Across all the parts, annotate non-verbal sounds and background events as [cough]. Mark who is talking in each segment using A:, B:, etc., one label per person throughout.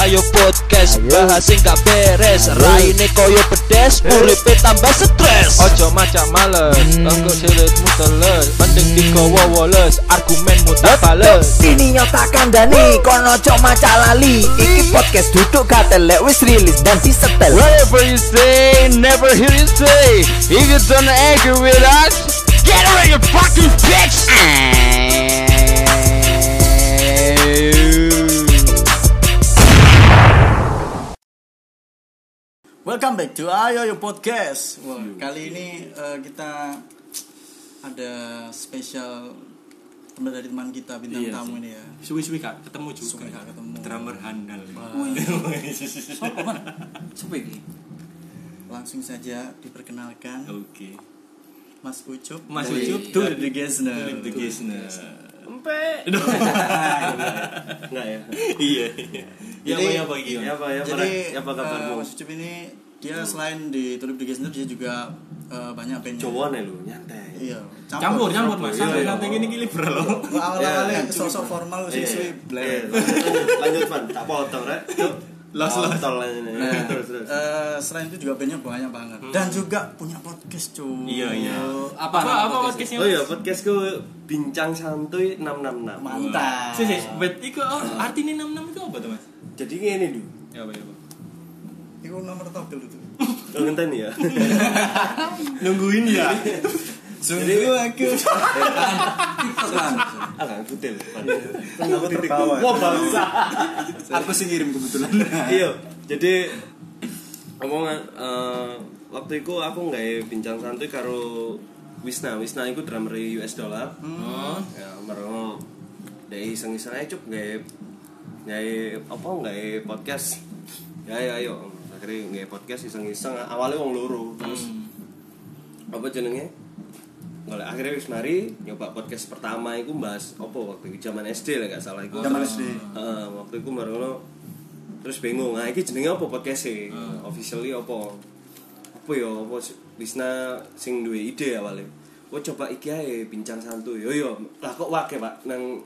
A: Ayo podcast bahas sing gak beres Raine koyo pedes Uripe tambah stres
B: Ojo macam males
A: Hmm.
B: Tengkuk silitmu teles Mending digawa woles Argumenmu tak bales
C: Sini nyota kandani Kono cok maca lali Iki podcast duduk katelek Wis rilis dan si setel
B: Whatever you say, never hear you say If you don't agree with us Get away you fucking bitch
D: Welcome back to Ayo Yo Podcast. Wah, kali ini eh, kita ada spesial teman dari teman kita bintang
E: Iya
D: tamu
E: sih.
D: ini ya.
E: Suwi-suwi kak ketemu juga
D: Suwi, Kak, ketemu.
E: Drummer handal.
D: Sopo man?
E: Suwi ini.
D: Langsung saja diperkenalkan
E: [laughs] Oke.
D: Mas Ucup.
E: Mas
D: dari
E: Ucup
D: Dulip
E: dari
D: the Gesner.
E: Philip the Gesner. [laughs]
F: Enggak ya.
E: Iya. Ya apa ya apa
D: iya,
E: gimana?
F: Ya apa ya apa?
D: Jadi
F: Ya apa kabarmu?
D: eh, Mas Ucup ini dia selain di Tulip the Gesner dia juga eh, banyak band.
F: Cowok nih ya, lu nyantai.
D: Iya.
E: Campur, campur mas. Santai santai gini gini bro lo.
F: Iya,
D: Awal-awalnya
F: iya.
D: sosok formal sih sih.
F: Iya, lanjut, lanjut man, tak potong rek. Yuk.
E: Los, los.
F: Potong aja nih. Terus terus.
D: Nah, Eh, selain itu juga bandnya banyak banget dan juga punya podcast cuy Ah,
E: Iya, iya.
B: Apa?
E: Apa apa podcastnya?
F: Oh iya, podcastku bincang santuy 666.
D: mantap
E: Sih sih. Bet iku oh, artinya enam enam itu apa tuh mas?
F: Jadi ngene lu.
E: Ya apa ya apa?
D: itu nomor togel itu
F: Lo ngenteni ya.
E: Nungguin ya.
D: sungguh aku TikTok kan
F: Alang butil.
D: aku terbawa
F: Wah, bangsa.
D: aku sih ngirim kebetulan
F: [laughs] Iya. Jadi ngomong eh, waktu itu aku nggak ya bincang santuy karo Wisna. Wisna itu drummer US Dollar.
E: Oh.
F: ya merong dari iseng iseng aja cuk gak gak ya apa gak podcast ya ayo ayo akhirnya gak podcast iseng iseng awalnya wong loro terus apa jenenge Nggak, akhirnya wis mari nyoba podcast pertama itu bahas apa waktu itu zaman SD lah gak salah itu
D: Zaman
F: Terus,
D: SD.
F: eh, waktu itu merono terus bingung nah ini jenenge apa podcast sih
B: Hmm.
F: officially apa apa ya apa sih? Wisna sing duwe ide awalnya Wah coba iki ae bincang santuy yo yo lah kok wake pak nang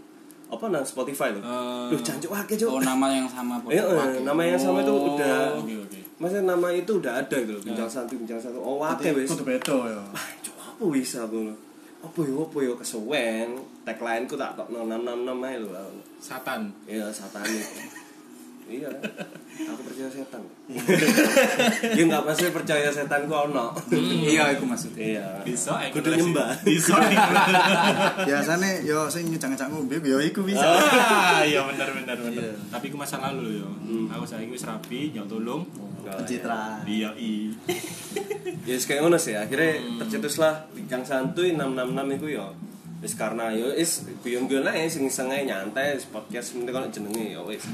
F: apa nang Spotify lo
B: Eh,
F: Duh jancuk wake cuk
B: Oh nama yang sama
F: [laughs] Eh, eh, nama yang sama itu
B: Oh,
F: udah
B: Oke oke
F: Maksudnya nama itu udah ada gitu loh, bincang santuy, bincang santuy. Oh, wake wis.
D: kudu beto ya
F: Wah, cuk apa wis aku lho. Apa yo apa yo kesuwen. Tagline ku tak tokno 666 ae lho.
E: Satan.
F: Iya, satanik. iya. Aku percaya
E: [laughs]
F: setan. Ya enggak pasti percaya setan ku ono.
B: Iya aku maksudnya
F: Iya.
E: Bisa. eh,
F: Kudu nyembah.
E: Bisa.
D: biasanya yo sing ngecang-ngecang ngombe yo iku bisa
E: Ah, [laughs] iya benar benar benar. Tapi aku masa lalu yo.
F: Hmm.
E: Aku saya wis rapi, nyok tolong.
D: pencitraan
E: Iya i.
F: Ya yes, kayak ngono sih. Akhirnya
E: Hmm.
F: tercetuslah bincang santuy 666 iku yo. Wis karena yo is guyon-guyon ae sing iseng ae nyantai wis podcast mending kono jenenge yo wis.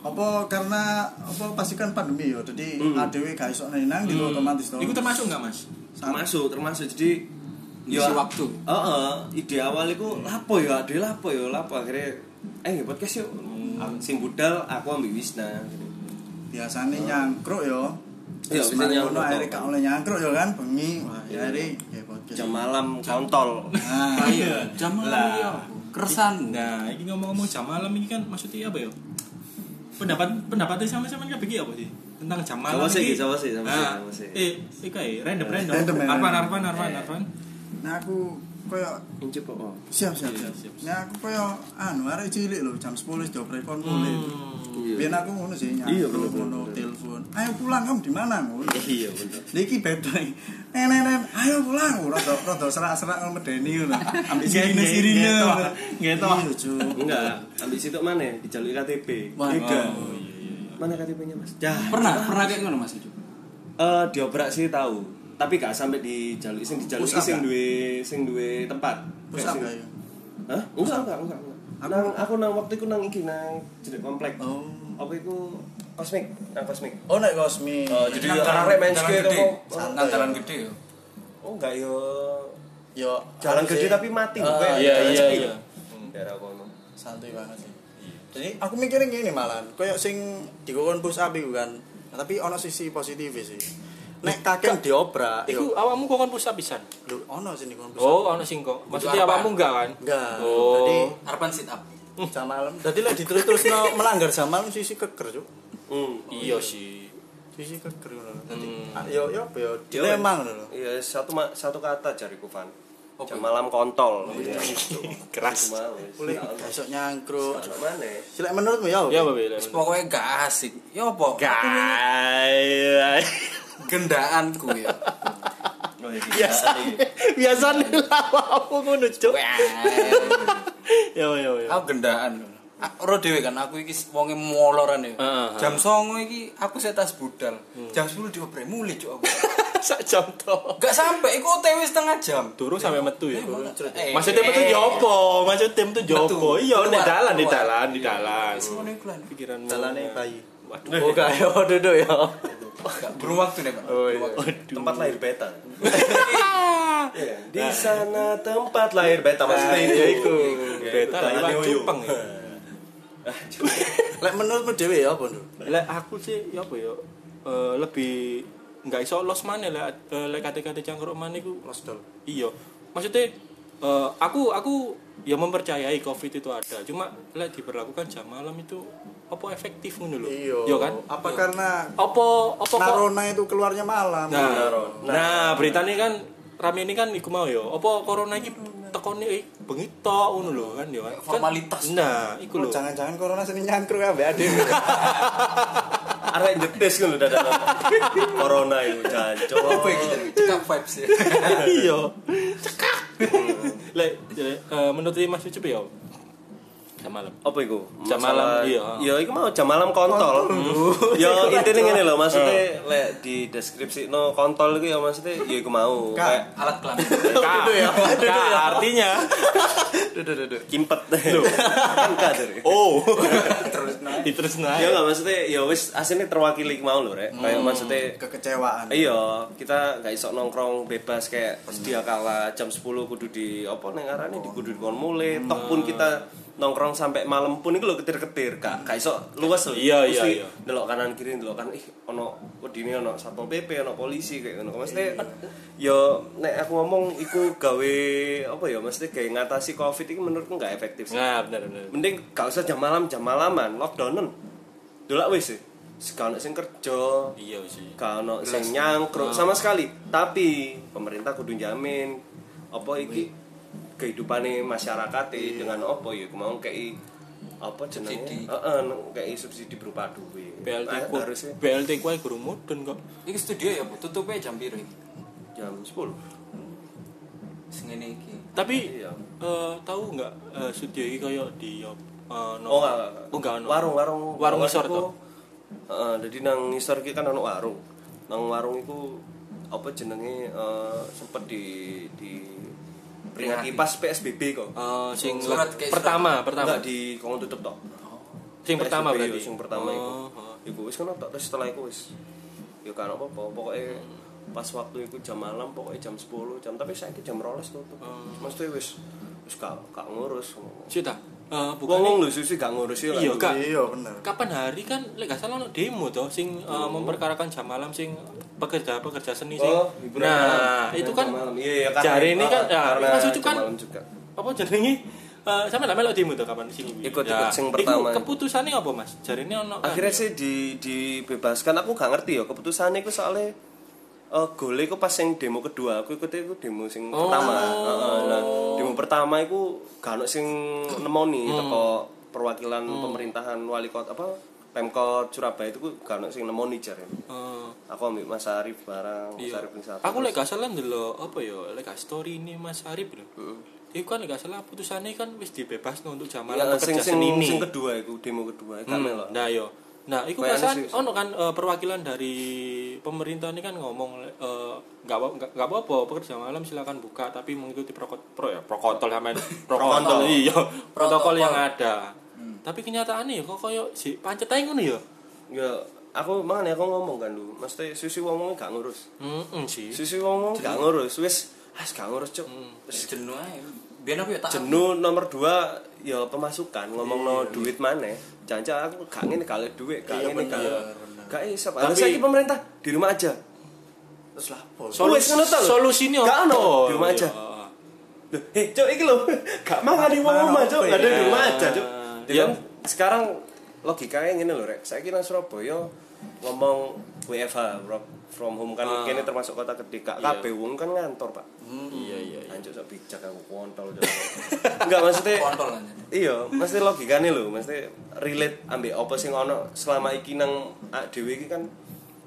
D: apa karena apa pasti kan pandemi yo jadi adewe gak iso nenang gitu otomatis to
E: Iku termasuk nggak mas?
F: termasuk termasuk jadi
B: Ngisi waktu.
F: Heeh, ide awal iku lapo ya, ade lapo ya, lapo akhirnya eh nggih podcast yuk.
E: Hmm.
F: Aku- Sing budal aku ambek Wisna.
D: biasanya nyangkruk yo
F: Iya,
D: Terus
F: bisa
D: mari
F: nyangkruk, iya.
D: ngono,
F: kok.
D: akhirnya gak oleh nyangkruk yo kan bengi wah ya akhirnya ya podcast
F: Jam malam kontol.
D: nah
B: Ah, Iya Jam malam iya Keresan
E: Nah, ini ngomong-ngomong jam malam ini kan maksudnya apa ya? Pendapat pendapatnya sama-sama kan begini apa sih? Tentang jam malam
F: Sama sih,
E: ini.
F: sama sih, sama sih,
E: Ah,
F: sama sih. Eh.
E: Eh, iki ae, random random.
D: Random, random.
E: Arfan Arfan Arfan Arfan.
D: nah aku koyo
F: Injep kok. oh.
D: siap siap
E: Iya,
D: siap,
E: siap, siap.
D: Nah, aku koyo anu arek cilik lho jam 10 wis dioprekon mulai biar aku ngono sih nyangkruk,
F: Hmm, Iya, bener, bener,
D: ngono
F: bener.
D: telepon ayo pulang kamu di mana ngono
F: Iya bener.
D: Niki beda iki. Nenen, ayo pulang ngono rada rada serak-serak ngono medeni ngono. Ambil sirine sirine. Gitu. Iya, Cuk.
F: Enggak, ambil situ mana? Dijaluk KTP.
D: Wah.
F: Beda. Mana KTP-nya, Mas? iya, Dah.
B: Pernah pernah kayak ngono Mas Ucup
F: Eh, diobrak sih tahu, tapi gak sampai dijaluk sing dijaluk
D: Push up
F: sing
D: gak?
F: duwe sing duwe tempat.
D: Terus apa
F: Kayak sing-
D: ya?
F: Hah? Enggak, enggak, enggak. enggak.
D: Aku-
F: Nang, aku nang waktu itu nang iki nang jedek komplek.
D: Oh.
F: Apa itu kosmik? Nang kosmik.
D: Oh, nek kosmi.
F: jadi
B: nang
F: orang
B: jalan-
F: rek main
B: jalan
F: skate
B: gede.
F: apa?
B: Nang jalan gede yo
F: Oh, enggak yo.
D: Yo,
F: Jalan
D: harusnya
F: gede tapi mati
D: Ah,
F: pokoknya.
D: iya,
F: Jalan
D: iya,
F: sepi.
D: iya.
F: Daerah kono.
D: santuy banget sih. Jadi aku mikirnya gini malan, koyo sing dikokon push up iku kan. Nah, Tapi ono sisi positif sih. Nek kakek diobrak,
G: Iku
D: yo
G: awakmu kok kan pusat pisan.
D: lho ono sing dikokon push up.
G: Oh, ono sing kok. Maksudnya
B: apa?
G: awakmu enggak kan?
D: Enggak.
G: Oh.
D: Jadi
B: Arfan sit up
G: [laughs]
D: jam malam. Jadi lah diterus-terus melanggar jam malam sisi keker, Cuk.
F: Hmm.
E: Iya sih.
D: Cuci kan keren lah. Nanti
G: Hmm.
D: ah, yo yo apa yo dilema ngono lho.
F: Iya, satu ma- satu kata jariku Van. Jam malam kontol. Iya.
E: Keras.
F: Cuma
D: Boleh besok nyangkruk.
F: Aduh, mana? ya?
D: Silek menurutmu ya?
E: Ya, Babe. lah.
H: Pokoknya gak asik. Ya apa? Gendaan kuwi.
F: Oh, iya, biasa nih.
D: Biasa lawa aku ngono, Cuk. Yo yo yo.
H: Aku gendaan. Aku ro dhewe kan aku iki wonge moloran ya. Jam 09.00 iki aku setas budal.
D: Hmm.
H: Jam 10 dioprek muli cuk
D: [laughs]
H: aku.
E: Sak jam to.
H: Gak sampai iku OTW setengah jam.
E: Turu sampai metu ya.
H: Eh,
E: Maksudnya metu
H: eh,
E: jopo? Maksudnya tim tuh jopo?
H: Metu.
E: Iya, di
H: Keluar,
E: dalan, di
H: keluar. Iya,
E: dalan, di dalan.
H: Ngono iku lan.
E: Pikiranmu.
D: Dalane bayi.
E: Waduh.
D: [laughs] Oh, gak yo duduk Oh, yo.
H: Gak Burung waktu nih, Pak.
F: Tempat lahir beta. Iya. Di sana tempat lahir beta maksudnya itu.
D: iku.
E: Beta lah
F: Dalane
E: iwak
F: Oyo.
E: cupeng
H: [laughs]
E: ya.
D: Lek menurutmu dhewe ya apa, Nduk?
E: Lah aku sih ya apa ya? eh, lebih nggak iso los mana lah eh, lek kate-kate cangkruk mana iku
D: Mas Dol.
E: Iya. Maksudnya eh, aku aku ya mempercayai covid itu ada. Cuma lek diberlakukan jam malam itu apa efektif ngono lho.
D: Iya.
E: Iya kan?
D: Apa karena
E: Apa apa kok-
D: Narona itu keluarnya malam?
E: Nah, nah, berita ini kan rame ini kan iku mau ya. Apa corona iki tekone eh bengi tok ngono lho kan ya. Kan-
H: Formalitas.
E: Nah, iku
D: Oh,
E: lho.
D: jangan-jangan corona sering nyangkruk ya, [laughs] Mbak Ade.
F: Arek nyetes ngono dadakan. Corona itu
H: Apa
F: jancuk.
H: iki? Cekak vibes ya.
E: Iya. Cekak. Lek lek, eh, menurut Mas Ucup ya. Jam malam.
F: apa iku?
E: Jam
F: Masalah-
E: malam, iya.
F: Ya iku mau jam malam kontol. [laughs] ya intine ngene lho, maksudnya lek di deskripsi no kontol iku ya maksudnya ya iku mau kayak
H: Alat
E: [laughs]
H: kelamin.
E: Ka, ka, ya. artinya
F: kimpet. [laughs] Kan kader.
E: Oh. [laughs] Terus nah.
F: Ya enggak maksudnya ya wis aslinya terwakili iku mau lho, Rek. Kayak maksudnya
D: Kekecewaan.
F: Iya, kita nggak iso nongkrong bebas kayak sedia kala jam 10 kudu di apa neng arane di kudu dikon mulai
E: Hmm.
F: tok pun kita nongkrong sampai malam pun itu lo ketir-ketir kak gak iso luas lho
E: Iya, iya,
F: Mesti
E: iya.
F: delok kanan kiri delok kanan ih ono wedine ono satpol pp ono polisi kayak ngono mesti yo nek aku ngomong iku gawe apa ya mesti gawe ngatasi covid itu menurutku nggak efektif sih
E: Nah, benar benar.
F: mending gak usah jam malam jam malaman lockdownen delok wis sih sekarang sing kerja
E: Iya sih.
F: gak ono sing nyangkruk sama sekali tapi pemerintah kudu jamin apa iki kehidupane masyarakat dengan apa ya mau kei apa jenenge heeh neng- kei subsidi berupa duit
E: BLT
F: Eh,
E: ku
F: harusnya
E: BLT ku ae gurung mudun kok.
H: Iki studio ya, Bu. Tutupnya jam piro iki?
F: jam 10
H: Sing ngene iki.
E: Tapi
F: iya
E: eh, tahu nggak eh, studio iki koyo di eh, no-
F: oh enggak
E: Oh, nggak ono.
F: warung-warung
E: Warung ngisor
F: iku,
E: toh?
F: heeh jadi nang ngisor iki kan ono warung nang warung iku apa jenenge eh, sempet di di peringati pas PSBB kok
E: Eh, sing
H: Surat
E: le-
H: kayak
E: pertama, pertama.
F: Enggak di kongkong tutup toh.
E: Sing pertama
F: PSBB,
E: berarti.
F: yo, Sing pertama
E: Oh,
F: iku.
E: oh.
F: Iku wis kena tok terus setelah iku wis. Ya kan apa-apa, pokoknya pas waktu itu jam malam pokoknya jam 10 jam tapi saya jam rolas tutup.
E: Oh.
F: Maksudnya wis wis gak gak ngurus.
E: Cita. Eh, bukan
F: Wong-wong lho sih gak ngurus ya.
E: Iya, Kak.
D: Iya, bener.
E: Kapan hari kan lek gak salah ono demo toh sing eh, memperkarakan jam malam sing pekerja-pekerja seni sing.
F: Oh, hiburan
E: nah,
F: malam.
E: itu
F: Hiburan
E: kan
F: malam. Iya, iya, karena-
E: jari ini kan ya,
F: karena
E: Mas Ucup
F: jam
E: kan
F: malam juga.
E: apa jenenge Eh, sama lah melok demo toh kapan sing Ya.
F: Ikut- ikut sing pertama.
E: keputusannya apa Mas? Jarine ono kan,
F: akhirnya
E: ya?
F: sih di dibebaskan aku gak ngerti ya keputusannya aku soalnya eh gole aku pas yang demo kedua aku ikut aku demo sing
E: Oh.
F: pertama Heeh, nah, demo pertama aku gak ono sing
E: Hmm.
F: nemoni teko perwakilan pemerintahan wali kota apa pemkot Surabaya itu ku gak ono sing nemoni jare
E: Eh,
F: aku ambil Mas Arif barang Mas
E: Iya.
F: Arif bin Sarto.
E: Aku lek gak salah ndelok apa ya, lek gak story ini Mas Arif lho. Iku kan lek gak salah putusannya kan wis dibebasno untuk jam
F: Ya,
E: malam
F: sing
E: pekerja
F: sing
E: seni ini.
F: sing kedua iku demo kedua gak melo
E: Nah yo. Nah, iku
F: Kayaknya
E: perasaan
F: sih-
E: ono kan eh, perwakilan dari pemerintah ini kan ngomong eh, nggak apa- nggak nggak apa-apa pekerja malam silakan buka tapi mengikuti prokot pro ya prokotol
F: [laughs]
E: sama prokotol iya protokol yang ada.
F: Hmm.
E: Tapi kenyataannya ya kok koyo si pancet ae ngono ya.
F: ya aku makanya aku ngomong kan lu mesti susu ngomongnya gak ngurus
E: Heeh sih.
F: Susu ngomong gak ngurus, wis as gak ngurus cuk. Terus
H: Hmm, Jenuh ae. Biyen aku ya tak
F: Jenuh nomor dua ya pemasukan ngomong no duit mana Janca aku gak ngene gak oleh duit, gak ngene gak. Gak iso. Tapi saiki pemerintah di rumah aja.
D: Terus lah, bos.
F: Wis ngono to lho.
E: solusinya
F: gak ono
E: apa?
F: di rumah aja.
E: Iya.
F: Loh, eh cuk iki lho [laughs] gak mangan di rumah
D: Mangan
F: cuk,
D: apa
F: gak ada
D: ya?
F: di rumah aja cuk. Ya
E: Iya.
F: kan, sekarang logikanya ngene lho rek saiki nang Surabaya ngomong WFH work from home kan
G: Ah.
F: kene termasuk kota gede Kak
G: Iya.
F: kabeh wong kan ngantor Pak
G: Iya iya. iya.
F: anjuk sok bijak aku kontol Cok. [laughs] enggak maksudnya
I: kontol aja
F: iya mesti logikane lho mesti relate ambek apa sing ono selama iki nang ah, dhewe iki kan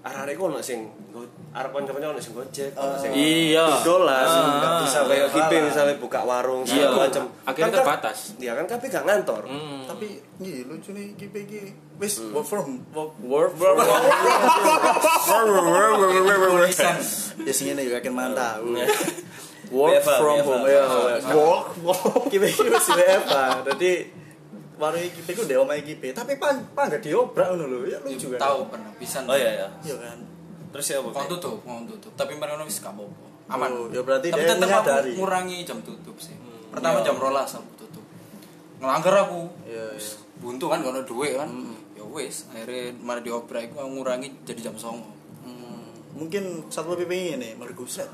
F: arek-arek ku ono sing go- arep kanca-kanca ono sing gojek ono sing
G: Iya.
F: dolan
G: Ah,
F: enggak bisa
G: ah,
F: kayak kita misalnya buka warung
G: Iya.
F: segala macam
G: Akhirnya
F: Kan kab-
G: terbatas. Hmm.
F: iya kan kabeh gak ngantor
D: tapi ini lucu nih iki iki wis work from work
I: tulisan
D: ya sing ngene yo akan mantap
F: Work from home, ya.
D: work work iki iki wis WFA dadi warung iki iku ndek omahe iki tapi pan pan gak diobrak ngono lho ya lucu kan
I: tahu pernah pisan
F: Oh iya ya.
D: iya kan
F: Terus ya
I: kon
F: apa?
I: tutup kon tutup tapi mereka wis gak apa-apa aman
D: Oh, ya berarti
I: tapi
D: dia
I: tetep aku
D: menyadari.
I: ngurangi jam tutup sih pertama jam rolas aku tutup ngelanggar aku
D: iya iya
I: buntu kan gak ada duit kan ya wis akhirnya mari diobrak aku ngurangi jadi jam songo
D: Hmm. mungkin satu lebih pengen ini merguset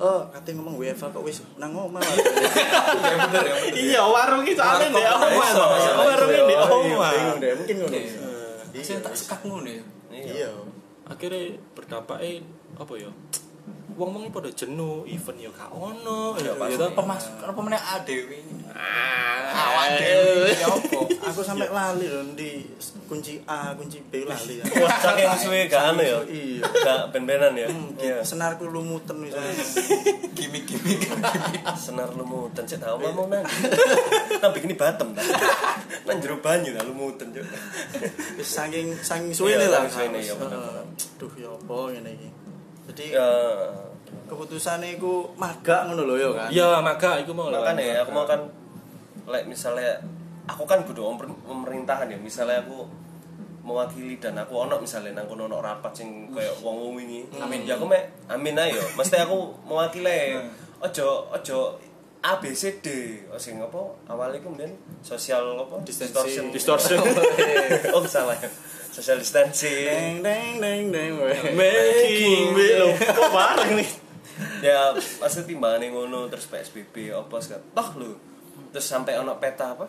D: Oh, katanya ngomong WFA kok wis nang omah. Iya, warung iki soalnya ndek omah. Warung iki ndek omah. Bingung deh, mungkin ngono.
I: saya tak sekak ngono ya
D: Iya.
G: akhirnya berdampak eh apa ya wong wong pada jenuh event ya gak ono
F: Iya,
G: ya
E: Iya,
G: apa
I: pemasuk apa meneh adewe awan dewe ya opo
D: Aku sampai lali loh di kunci A, kunci B lali. kan.
F: Wah, saking suwe gak anu ya.
D: Iya.
F: Gak ben-benan ya. Hmm. Iya.
D: Senarku lumutan misalnya.
I: gimik-gimik
F: Senar lumuten sik tau mau nang. Nang bikini batem ta. Nang jero banyu ta lumuten [laughs] cuk.
D: Wis saking saking suwe
F: Iya,
D: lah.
F: saking suwene, iya,
D: Heeh.
F: bener-bener.
D: Duh, ya apa ngene iki. Jadi
F: Ya
D: keputusane iku maga ngono lho ya kan.
E: Iya,
G: ya maka iku mau
F: makane ya aku mau kan lek misalnya aku kan kudu ompren- pemerintahan ya misalnya aku mewakili dan aku ono misalnya nang kono ono rapat sing kayak wong wong ini amin ya aku mek amin ayo mesti aku mewakili ojo ojo A B C D Oh, sing apa awalnya kemudian sosial apa distortion distortion [laughs] oh salah ya social distancing
D: Deng deng deng deng.
F: making me loh kok bareng nih ya pasti timbangannya ngono terus PSBB apa segala toh lu terus sampai ono peta apa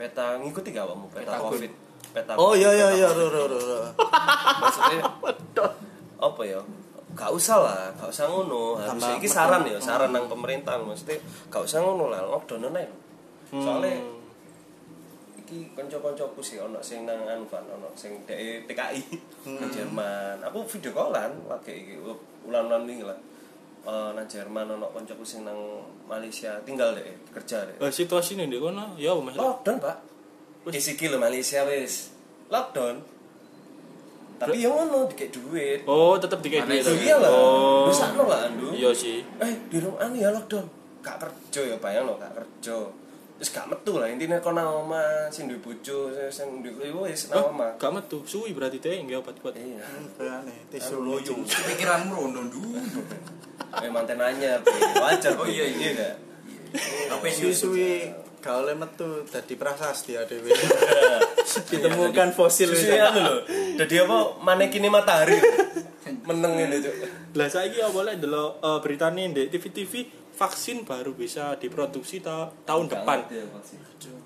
F: peta ngikuti gak kamu peta, covid peta
D: Oh iya iya
F: peta
D: iya,
F: COVID.
D: ro ro ro. ro.
F: maksudnya apa ya gak usah lah gak usah ngono harus
D: Tambah
F: ini saran ya saran nang pemerintah maksudnya gak usah ngono lah lockdown aja soalnya iki kanca-kancaku sih ono sing nang anu kan ono sing dek TKI
G: Hmm.
F: nang Jerman. Aku video callan lagi iki ulan-ulan wingi lah. Eh, nang Jerman ono kancaku sing nang Malaysia tinggal dek kerja dek.
G: eh, situasi nih di kono ya mas
F: Lockdown, Pak. Wis iki lho Malaysia wis. Lockdown. Tapi yang ngono dikek duit.
G: oh tetep dikit duit
F: Iya iyalah.
G: oh
F: Wis sakno lah andu.
G: iya sih
F: eh di rumah anu ya lockdown gak kerja ya bayang lo gak kerja terus gak metu lah intinya kau nang omah sing duwe bojo sing duwe kliwo wis nang omah
G: Hah? gak metu suwi berarti teh nggak obat kuat
F: iya
D: Bayane tisu
F: Anu loyo.
D: loyo.
I: pikiranmu rondo dulu
F: eh manten anyar Bi. wajar
I: Oh, iya, iya.
F: gak
I: tapi
D: Suwi gak oleh metu dadi prasasti ya
F: [laughs]
D: dhewe. Ditemukan fosil
F: susu anu lho dadi apa manekine
I: [laughs]
F: matahari meneng ngene cuk
G: lah saiki ya boleh delok eh, berita nih di TV TV vaksin baru bisa diproduksi ta- tahun depan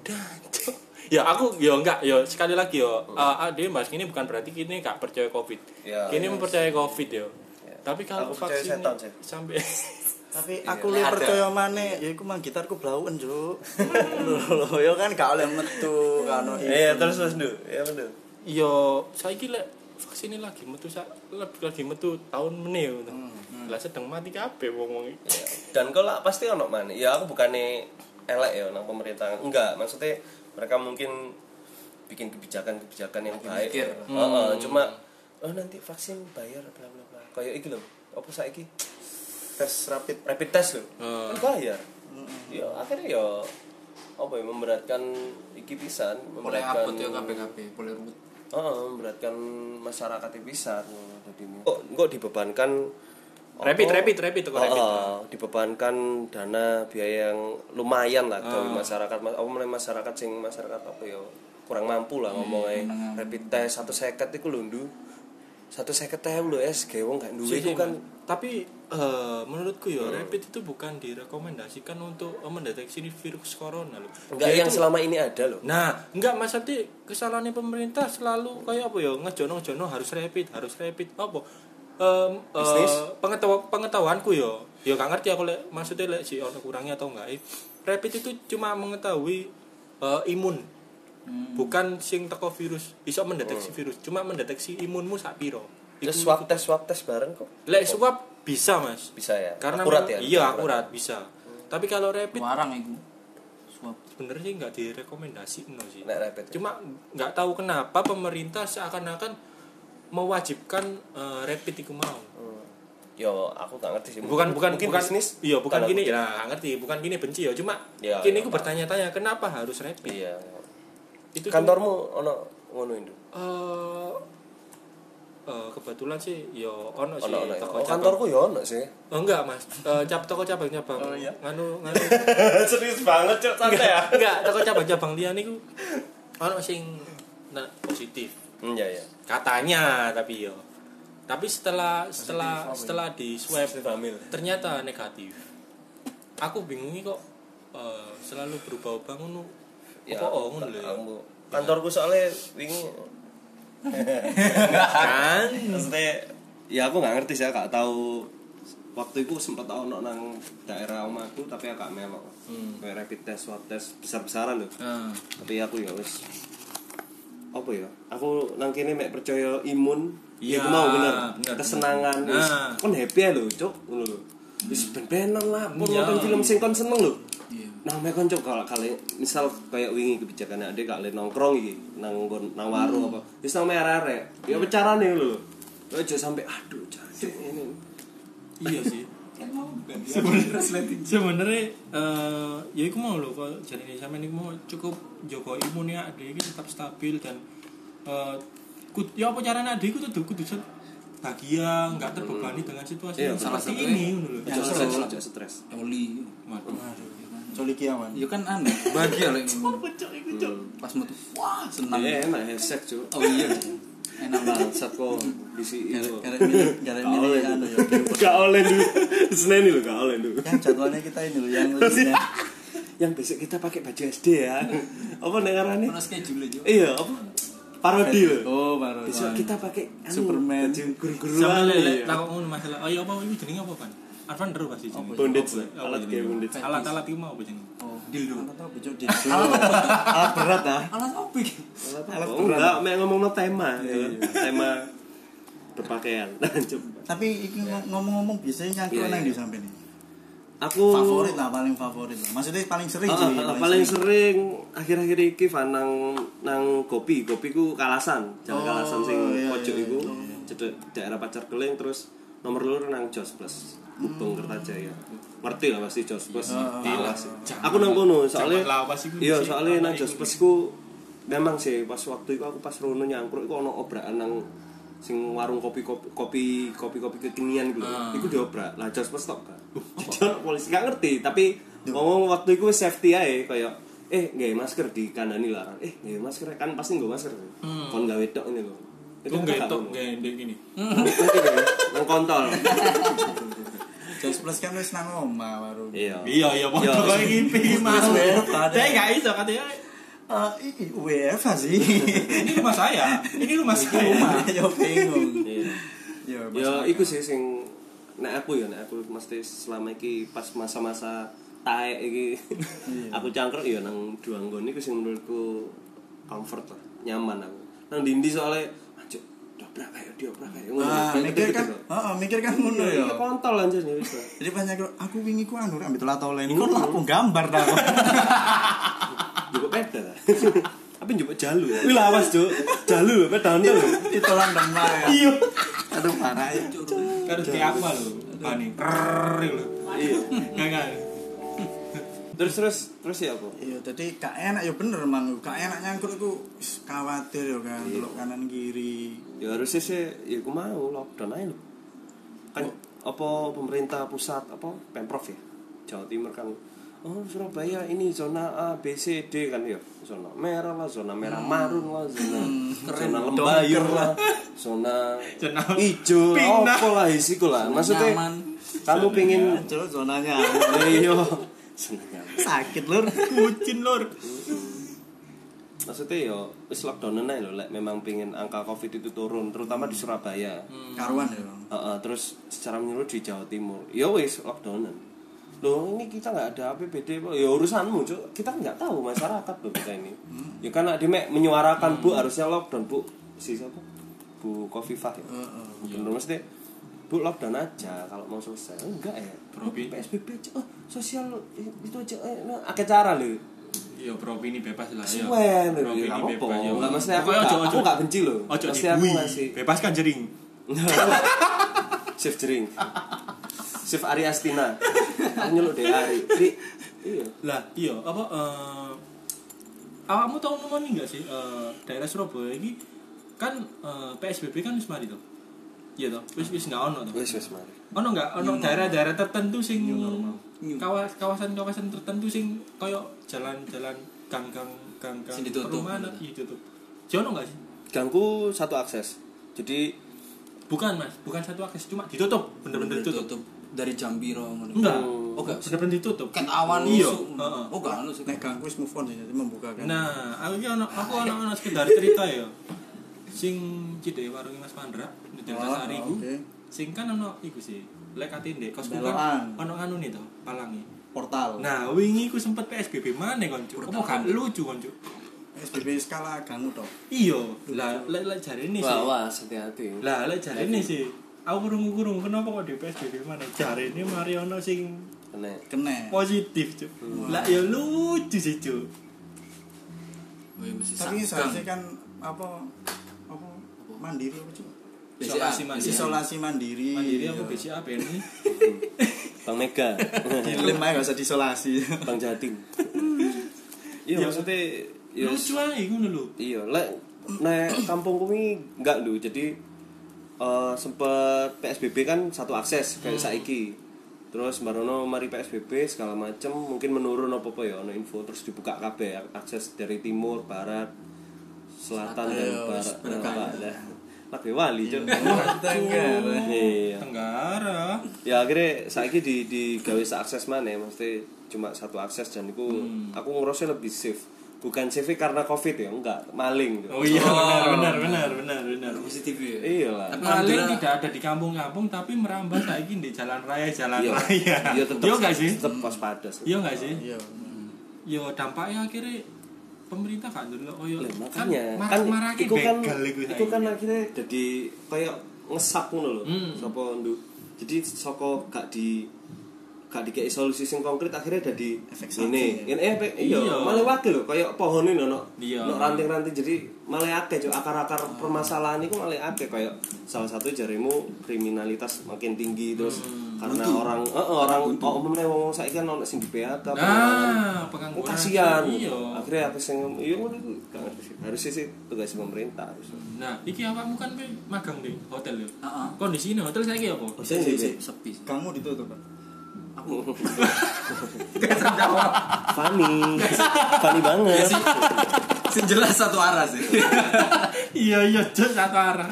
G: Dan, Cuk. ya aku ya enggak ya sekali lagi ya uh, dia mas ini bukan berarti kini gak percaya covid
F: Oh. Ya,
G: kini
F: ya.
G: mempercaya covid ya tapi kalau
F: Aku percaya
G: vaksin
F: setan,
G: ini
F: Cek.
G: sampai [laughs]
D: Tapi aku lu percaya maneh, ya iku mang gitarku blauen, Cuk.
F: Hmm.
D: Lho, ya kan gak oleh metu kan ono
F: iya terus terus ndu iya bener
G: yo Ya, saiki lek vaksin ini lagi metu sa, leb- lagi metu tahun meneh ya,
F: Hmm,
G: lah sedang mati kabeh wong-wong iki.
F: Ya. dan kau lah pasti ono mana ya aku bukannya elek ya nang pemerintahan enggak maksudnya mereka mungkin bikin kebijakan-kebijakan yang baik
I: mikir. Hmm.
F: Oh, oh, cuma oh nanti vaksin bayar bla bla bla kayak iki loh apa saiki
D: tes rapid. Hmm.
F: rapid test loh
I: Hmm.
F: kan bayar ya akhirnya ya apa ya memberatkan iki pisan
I: boleh
F: memberatkan
I: upload ya KPKP boleh root
F: Oh, oh, memberatkan masyarakat yang besar kok kok dibebankan
G: Rapid,
F: apa?
G: rapid, rapid, toko
F: Oh,
G: rapid.
F: oh, dibebankan dana biaya yang lumayan lah gawe masyarakat mas apa meneh masyarakat sing
E: Hmm.
F: masyarakat apa ya kurang mampu lah ngomongnya rapid test satu seket iku lho ndu satu saya lho es kayak wong gak duwe
E: Sih,
F: itu
E: sih,
F: kan
E: Mas. tapi eh, menurutku ya rapid itu bukan direkomendasikan untuk eh, mendeteksi virus corona loh.
F: enggak
E: Dia
F: yang
E: Ya, itu-
F: selama ini ada loh
E: Nah, enggak Mas Ati, kesalahannya pemerintah selalu kayak apa ya? Ngejono-jono harus rapid, harus rapid. Apa? Em, eh,
F: Bisnis?
E: pengetahu- pengetahuanku yo. Yo gak ngerti aku lek maksudnya lek si orang kurangnya atau enggak. eh. Rapid itu cuma mengetahui eh, imun. Bukan sing teko virus, iso mendeteksi
F: Oh.
E: virus, cuma mendeteksi imunmu sak piro. Iku-
F: terus swab tes swab tes bareng kok
E: Lek swab bisa, Mas.
F: bisa ya
E: Karena
F: akurat ya
E: memang- Iya, akurat Hmm. bisa. Tapi kalau rapid
I: warang itu suap
E: sebenarnya nggak direkomendasi no sih.
F: Nek rapid ya?
E: cuma nggak tahu kenapa pemerintah seakan-akan mewajibkan eh, rapid itu mau
F: yo aku gak ngerti sih
E: Hmm. bukan bukan
F: Mungkin
E: bukan
F: bisnis
E: iya bukan
F: Tanda
E: gini
F: kutip.
E: ya ngerti bukan gini benci ya cuma
F: Iya,
E: kini
F: iya,
E: aku
F: Pak.
E: bertanya-tanya kenapa harus rapid
F: iya
E: itu tuh,
F: kantormu ono ngono itu
E: eh, eh, kebetulan sih yo ono sih
F: ono ono ya.
E: toko
F: oh,
E: cabang.
F: kantorku yo ono
E: [laughs]
F: sih
E: Oh, enggak mas Eh, cap toko cabang cabang nganu nganu [laughs]
F: serius banget cok santai ya
E: enggak toko cabang cabang dia niku ono sing nah, positif
F: iya iya
E: katanya tapi yo tapi setelah setelah setelah di swab
F: hamil
E: ternyata negatif aku bingungnya kok eh, selalu berubah-ubah ngono
F: Ya,
E: apa oh ngono lho ya?
F: aku- kantorku soalnya wingi
E: [laughs] kan
F: maksudnya ya aku nggak ngerti sih gak tahu waktu itu sempat tahu nok nang daerah omaku tapi agak melok
J: Hmm.
F: kayak rapid test swab test besar besaran loh
J: Ah.
F: tapi aku ya wes apa ya aku nang kene mek percaya imun
J: Iya,
F: iku mau bener,
J: bener,
F: kesenangan
J: bener.
F: wis,
J: Nah.
F: kon happy ya lho cuk ngono lho
I: Hmm.
F: wis ben-benan lah pun
I: Iya.
F: nonton film sing kon seneng lho Nah, mek kon coba kali misal kayak wingi kebijakan ade kali nongkrong iki nang nggon- nang
I: Hmm.
F: warung apa. Wis nang arek-arek. Ya
I: Iya.
F: pecarane lho. Lho aja sampe aduh jadi ini.
E: iya sih sebenarnya sebenarnya eh, ya iku mau lho kok jadi sampean iku mau cukup jaga imunnya ade iki tetap stabil dan eh kut, ya apa caranya ade iku kudu kudu set- bahagia nggak terbebani dengan situasi
F: Iya,
E: yang
F: benar.
E: seperti ini ngono lho
F: Aja stres, aja stres.
I: oli
E: Waduh.
D: Coli kiaman.
I: ya Oh, kan aneh bahagia lah ini pas metu wah senang
F: Ya enak hashtag cuy.
I: oh iya enak banget
F: Bangsat kok bisi itu.
I: karena milih karena
F: Oh, iya,
I: milih
D: kan.
I: anu ya
F: [laughs] Gak oleh lu. Seneni lho gak oleh lu.
D: Yang Kan jadwalnya kita ini loh yang lebihnya.
F: Yang besok kita pakai baju SD
I: [laughs]
F: ya. Apa nek ngarane?
I: Ono schedule aja
F: Iya, apa? Parodi lho.
I: oh baru
F: Besok kita pakai anu,
I: Superman.
F: baju
E: Sampe
F: guru-guruan.
E: lele
F: iya.
E: takok ngono masalah. Oh ya apa iki jenenge apa kan? Arvan deru pasti jenenge.
F: Bondage, lah. alat kayak bondage.
E: Alat-alat iku mau apa jenenge?
F: Oh,
I: dildo
D: [laughs]
F: Alat berat ah.
I: alat apa ini?
F: Alat berat. Enggak, mek ngomongno tema. Tema berpakaian. [laughs] Coba.
D: Tapi iki ngom- ngomong-ngomong biasanya
F: Iya,
D: nyangkut nang
F: iya.
D: di sampe ini.
F: Aku
D: Favorit lah paling favorit lah. Maksudnya paling sering
F: Ah,
D: sih.
F: ah, ah, paling sering akhir-akhir iki Van nang nang kopi, kopi ku kalasan, jalan kalasan sing
D: iya,
F: pojok
D: iya,
F: iku, cedek daerah pacar keling terus nomor lur nang Jos Plus. Bubeng Kertajaya. Ngerti lah pasti Jos Plus. Kalah sih. Aku nang kono soalnya
J: Jaman lawas iku
F: Iya,
J: sih,
F: soalnya nang
J: apa iku
F: Jos Plus ku memang sih pas waktu itu aku pas rono nyangkruk iku ono obrakan nang sing warung kopi kopi kopi kopi, kopi kekinian gitu. Iku diobrak. Lah Jos Plus tok kan. [laughs] Jujur polisi gak ngerti, tapi ngomong waktu itu safety ae kayak eh nggak masker di kandani larang. Eh nggak masker kan pasti nggak masker. Kon gawe tok ini lho.
E: Itu nggak
F: kakak
E: itu
F: ngono.
E: nggak ndek gini.
F: Ngerti nggak ya? Nang kontol.
D: Jazz Plus kan wis nang omah baru.
F: Iya.
J: Iya, iya,
F: Iya.
J: pokoknya kayak ngimpi mau. Saya nggak bisa katanya.
D: Eh, i- i- WFH sih.
J: [laughs] Ini rumah saya, ini rumah saya.
D: [laughs] Rumah ya bingung.
F: Iya.
D: Ya,
F: Ya iku sih sing nek aku ya nek aku mesti selama iki pas masa-masa taek iki [laughs] aku cangkruk ya nang Duanggon iku sing menurutku comfort lah, nyaman aku. Nang dindi soalnya anjuk dobrak kayak diobrak kayak ngono.
D: Ah, mikir kan, heeh, mikir kan ngono ya.
F: Iya, iki kontol anjir ya wis. lah.
D: Jadi banyak aku wingi ku anu ambil telato lain. Kok lapo gambar
J: [laughs]
D: ta.
F: Jupuk peda [laughs] ta. Tapi jupuk jalu. Wih lawas, Cuk. Jalu lho pedane lho.
D: Itu lang demar. Iya. Aduh parah ya.
J: Kan kayak aku lho, panik. Rrrr lho.
F: Iya.
J: Nggak nggak.
F: Terus terus terus ya apa?
D: Iya, jadi gak enak ya bener mang. Gak enak nyangkut iku wis khawatir ya kan, delok kanan kiri.
F: Ya harusnya sih ya aku mau lockdown aja lho. Kan apa pemerintah pusat apa Pemprov ya? Jawa Timur kan oh Surabaya ini zona A B C D kan ya zona merah lah zona merah marun lah zona zona lembayur lah zona
E: Zona
F: hijau
E: pina.
F: apa lah isiku lah maksudnya
I: nyaman.
F: kamu pingin
D: Cuk, zonanya
F: [laughs] ayo zona nyaman.
D: sakit lur
E: Kucin lur.
F: maksudnya yo wis lockdown aja lho lek memang pingin angka covid itu turun terutama di Surabaya
D: karuan ya Bang.
F: Uh, uh, terus secara menyeluruh di Jawa Timur ya wis lockdownan loh ini kita nggak ada APBD Pak. ya urusanmu cuk kita nggak tahu masyarakat loh kita ini
E: Hmm.
F: ya karena dia Mek, menyuarakan bu harusnya lockdown bu si siapa bu Kofifah ya mungkin uh, mesti bu lockdown aja kalau mau selesai Oh, enggak ya
E: Probi.
F: PSBB aja oh, sosial eh, itu aja eh, nah, akeh cara loh
E: Iya, bro ini bebas lah. iya.
F: Suwen,
E: Bro, ini
F: ya, nggak apa-apa.
E: bebas, ya.
F: Nggak, maksudnya aku
E: Pokoknya
F: nggak-
E: ojo-
F: aku nggak benci loh.
E: Ojo
F: Maksudnya aku
E: dibui.
F: ngasih-
E: Bebas kan jering.
F: [laughs] Chef Jering Chef Ari Astina aku nyeluk deh Ari Ri iya
E: Lah, iya, apa eh awakmu tahu nomor ini enggak sih eh, daerah Surabaya ini kan eh, PSBB kan wis mari to. Iya toh, wis wis enggak ono toh.
F: wes wes mari
E: Ono enggak
I: Iya,
E: ono daerah-daerah tertentu sing kawas kawasan-kawasan tertentu sing koyo jalan-jalan gang-gang gang-gang
I: Sing ditutup.
E: perumahan iya, itu tuh. Jono enggak sih?
F: gangku satu akses jadi
E: Bukan, Mas. Bukan satu akses, cuma ditutup, bener-bener ditutup.
I: tutup dari jam piro ngono.
E: Enggak.
I: Oh, enggak.
E: Bener-bener ditutup.
I: Ket awan
E: Iya.
I: musuh.
E: heeh.
I: Oh, enggak anu sih.
D: nek gangku wis move on sih jadi membuka kan
E: Nah, aku ki ono aku ono
I: iya.
E: ono sekedar cerita ya. Sing cidek warung Mas Pandra di Delta
D: Oh,
E: Sari
D: oh,
E: iku.
D: oke.
E: Sing kan ono iku sih. Lek ati ndek kosku
D: Belokan.
E: kan ono nganune to, palangi.
D: portal
E: Nah, wingi ku sempet PSBB maneh kon, Cuk. Apa gak lucu kon, Cuk?
D: SBB skala ganggu toh
E: Iya, lah lek lek jarene sih.
F: wah hati-hati
E: Lah lek jarene sih. Aku kurung-kurung kenapa kok di PSBB maneh? Jarene mari ono sing
F: kena
D: kena
E: Oh, positif, Cuk. Lah ya lucu sih, Cuk.
I: Oh, iya, mesti
D: tapi
I: sakgang.
D: seharusnya kan apa apa mandiri apa cuma
I: BCA.
E: Isolasi mandiri.
D: ah, isolasi mandiri Iya.
E: Mandiri
D: apa [laughs]
E: apa BCA BNI?
F: Bang [laughs] Mega
D: dilem aja gak usah diisolasi
F: Bang Jatim Hmm. iya maksudnya iya
E: Lucu ae ngono lho.
F: iya lek nek kampung kumi enggak lho jadi eh sempet PSBB kan satu akses kayak saiki terus barono mari PSBB segala macem mungkin menurun apa apa ya ono info terus dibuka kabeh akses dari timur barat selatan dan
D: Ayo, wis
F: barat
D: berkah.
F: Nah, lah. lagi wali Cuk. [laughs]
D: tanggal
F: iya
E: Tenggara.
F: ya akhirnya saiki di di gawe akses mana ya mesti cuma satu akses dan itu aku ngurusnya lebih safe bukan safe karena covid ya enggak maling Cuk.
E: Oh iya benar benar benar benar benar.
I: positif ya.
F: Iya lah.
E: Paling
I: Tapi alhamdulillah
E: tidak ada di kampung-kampung tapi merambah saiki di jalan raya jalan
F: Iya.
E: raya.
F: Iya tetep.
E: Iya enggak sih?
F: Tetep waspada sih.
E: Iya enggak sih?
D: iya
E: Yo dampaknya akhirnya pemerintah kan dulu koyo
F: Lah, makanya
E: kan marah
F: iku kan iku kan
E: kan
F: akhirnya jadi kayak ngesap ngono lho.
E: Hmm.
F: Sapa ndu. Jadi saka gak di gak dikei solusi sing konkret akhirnya jadi
D: Efek
F: ini
D: samping.
F: ini efek iya
E: Iya.
F: malah wakil lho kayak pohon ini no
E: Iya.
F: no ranting-ranting jadi malah akeh cuk akar-akar permasalahan itu malah akeh kayak salah satu jarimu kriminalitas makin tinggi terus
E: Hmm.
F: karena orang eh, eh, orang oh, umumnya wong saiki kan ono sing di PHK
E: Nah,
F: Oh,
E: pengangguran.
F: kasihan
E: Iya.
F: akhirnya aku sing iya ngono iku gak ngerti sih. harusnya sih tugas pemerintah harus
E: Nah, iki awakmu kan pe magang di hotel yo.
I: Heeh.
E: Kondisi ini hotel saiki apa?
F: Saya sih
I: sepi.
D: kamu ditutup Pak.
F: funny [laughs] funny banget
I: Sing jelas satu arah sih.
E: [laughs] Iya iya jos satu arah.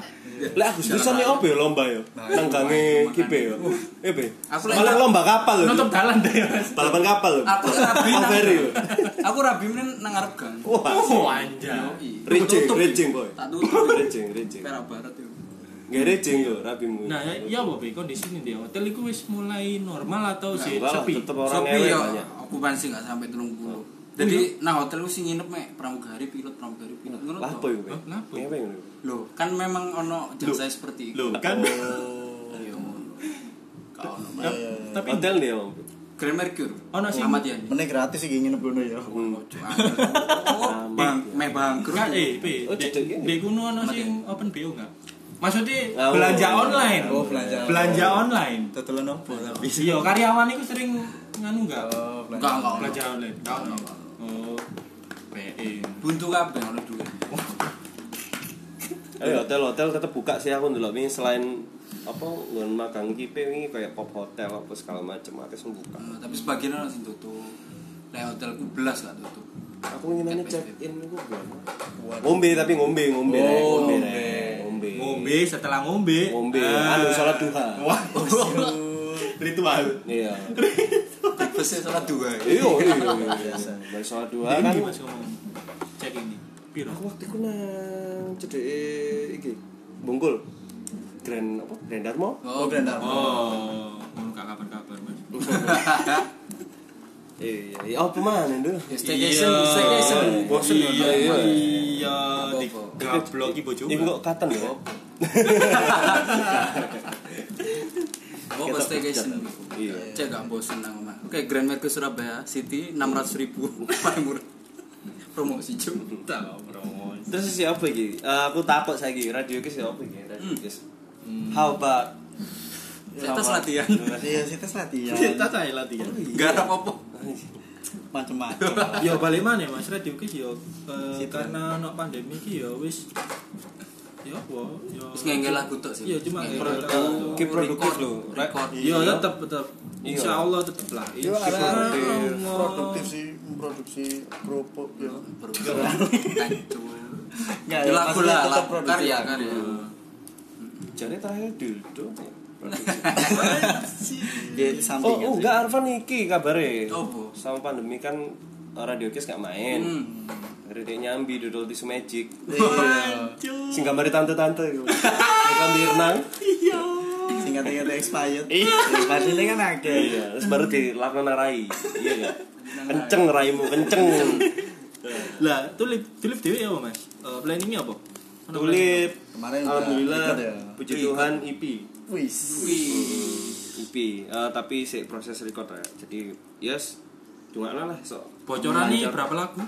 F: lah aku bisa nih opo ya lomba ya nang gange kipe ya eh be
I: Aku lagi-
F: malah lomba kapal lho
E: Nutup dalan deh. Mas.
F: balapan kapal lho
I: Aku rabi
F: Kapal feri lho
I: Aku rabi men nang ngarep gang. iya.
F: wah
E: Oh anjay.
F: Rejing,
I: Tutup,
F: rejing boy.
I: Tak tutup.
F: Rejing, rejing.
I: Perak barat itu.
F: Nggak rejing lho, rabimu.
E: Nah, ya, ya apa Be? kondisi ini di hotel itu wis mulai normal atau sih
F: Enggak lah,
E: sepi?
F: tetep orang
I: Sopi
F: ewe
E: iya.
I: yo
F: banyak.
I: okupansi enggak sampai 30. Jadi nah hotel ku sing nginep mek pramugari pilot pramugari pilot ngono.
F: Lah apa
I: toh.
F: iku? Be?
E: Hah, kenapa?
F: Ngewe ngono.
I: Loh, kan memang ono jasa seperti itu.
E: Loh, kan
F: Oh.
I: Iya, ngono. Gak ono.
E: Tap- tapi
F: Hotel dia Om.
I: Grand Mercure.
E: Ono sing-
I: Ahmad Yani.
D: Mending gratis sih ingin ngono ya
I: Ojo, angel. Oh, bang, meh bangkrut.
E: enggak eh Be,
F: Oh,
E: Be-
F: cedek ini.
E: Be kuno ono sing open BO enggak? Maksudnya
F: Oh.
E: belanja online.
D: Oh, belanja.
E: Belanja online.
D: tutulan apa tapi
E: Iya, karyawan itu sering nganu enggak?
D: Oh,
I: Enggak,
D: belanja.
I: enggak ono.
E: Belanja online. Enggak, enggak. Oh. PE.
I: Buntu kabeh ono duit.
F: Eh hotel-hotel tetep buka sih aku ndelok wingi selain apa nggon magang kipe wingi kayak pop hotel apa segala macem akeh sing buka.
I: Eh, Tapi sebagian ono sing tutup. Lah hotelku belas lah tutup. Oh,
F: aku nginannya check in aku berapa? ngombe tapi ngombe ngombe Rek. ngombe Rek. Oh, ngombe Ah.
E: Ngombe setelah ngombe. Ah.
F: ngombe anu salat duha
E: [laughs]
I: Ritual.
F: iya
I: Tipesnya salah dua.
F: iya iya biasa baik salat duha
E: Ini
F: kan
E: Mas ngomong. Cek ini. Piro?
F: aku waktu itu nang cedek iki bungkul Grand apa Grand Darmo
I: Oh, Brandar.
E: Oh, ngono gak kabar-kabar, Mas.
F: iya iya Oh, apa mana itu
I: Ya, staycation, staycation.
F: bosen ya,
E: iya,
F: iya.
E: iya, di gablok iki bojoku.
F: ini kok katen ya
I: Oh,
F: Kita
I: pas staycation.
F: Iya.
I: Cek gak bosen nang omah. Oke, Grand Mercure Surabaya City 600 ribu paling murah. Promosi cum.
F: terus si apa iki Eh, aku takut saiki radio kis ya apa iki radio kis how about
I: Saya tas latihan.
D: Iya, sih tes latihan.
E: Kita saya latihan.
I: Gak ada apa-apa.
D: Macem-macem.
E: Ya balik mana Mas Radio ki ya eh, karena ono pandemi ki ya wis ya apa ya
I: Terus ngengel lagu tok sih.
E: Iya, cuma
I: Ngengel
E: ngengel
I: lagu.
E: lagu.
F: Ki produktif lho, Rek.
I: Record.
E: Ya tetep tetep.
I: Iya.
E: Insyaallah tetep lah.
D: produktif sih produksi kerupuk ya.
I: Ya,
D: Nggak, ya,
I: lagu
D: maksudnya
I: lah,
D: tetap
I: lagu
D: produktif.
I: karya kan. karya.
F: jadi terakhir dildo ya, produksi.
D: Dia di
F: oh,
D: samping.
F: oh enggak Arfan iki kabare
I: Apa?
F: sama pandemi kan radio kis gak main Akhirnya dia nyambi dodol tisu magic
I: Oh.
F: sing gambar tante-tante itu kan renang
D: Singkat-singkat expired.
I: Iya.
D: Expired ini kan ada.
F: iya terus baru dilakon rai iya gak? kenceng raimu kenceng
E: Lah, tulip tulip dhewe ya apa Mas? Eh, planningnya apa? Ono
F: tulip
D: Kemarin udah
F: alhamdulillah
D: ikut ya.
F: puji Tuhan IP
D: Wis.
F: IP eh, tapi si proses record ya jadi yes cuma lah so
E: planning?
I: Nah,
E: bocoran nih berapa lagu?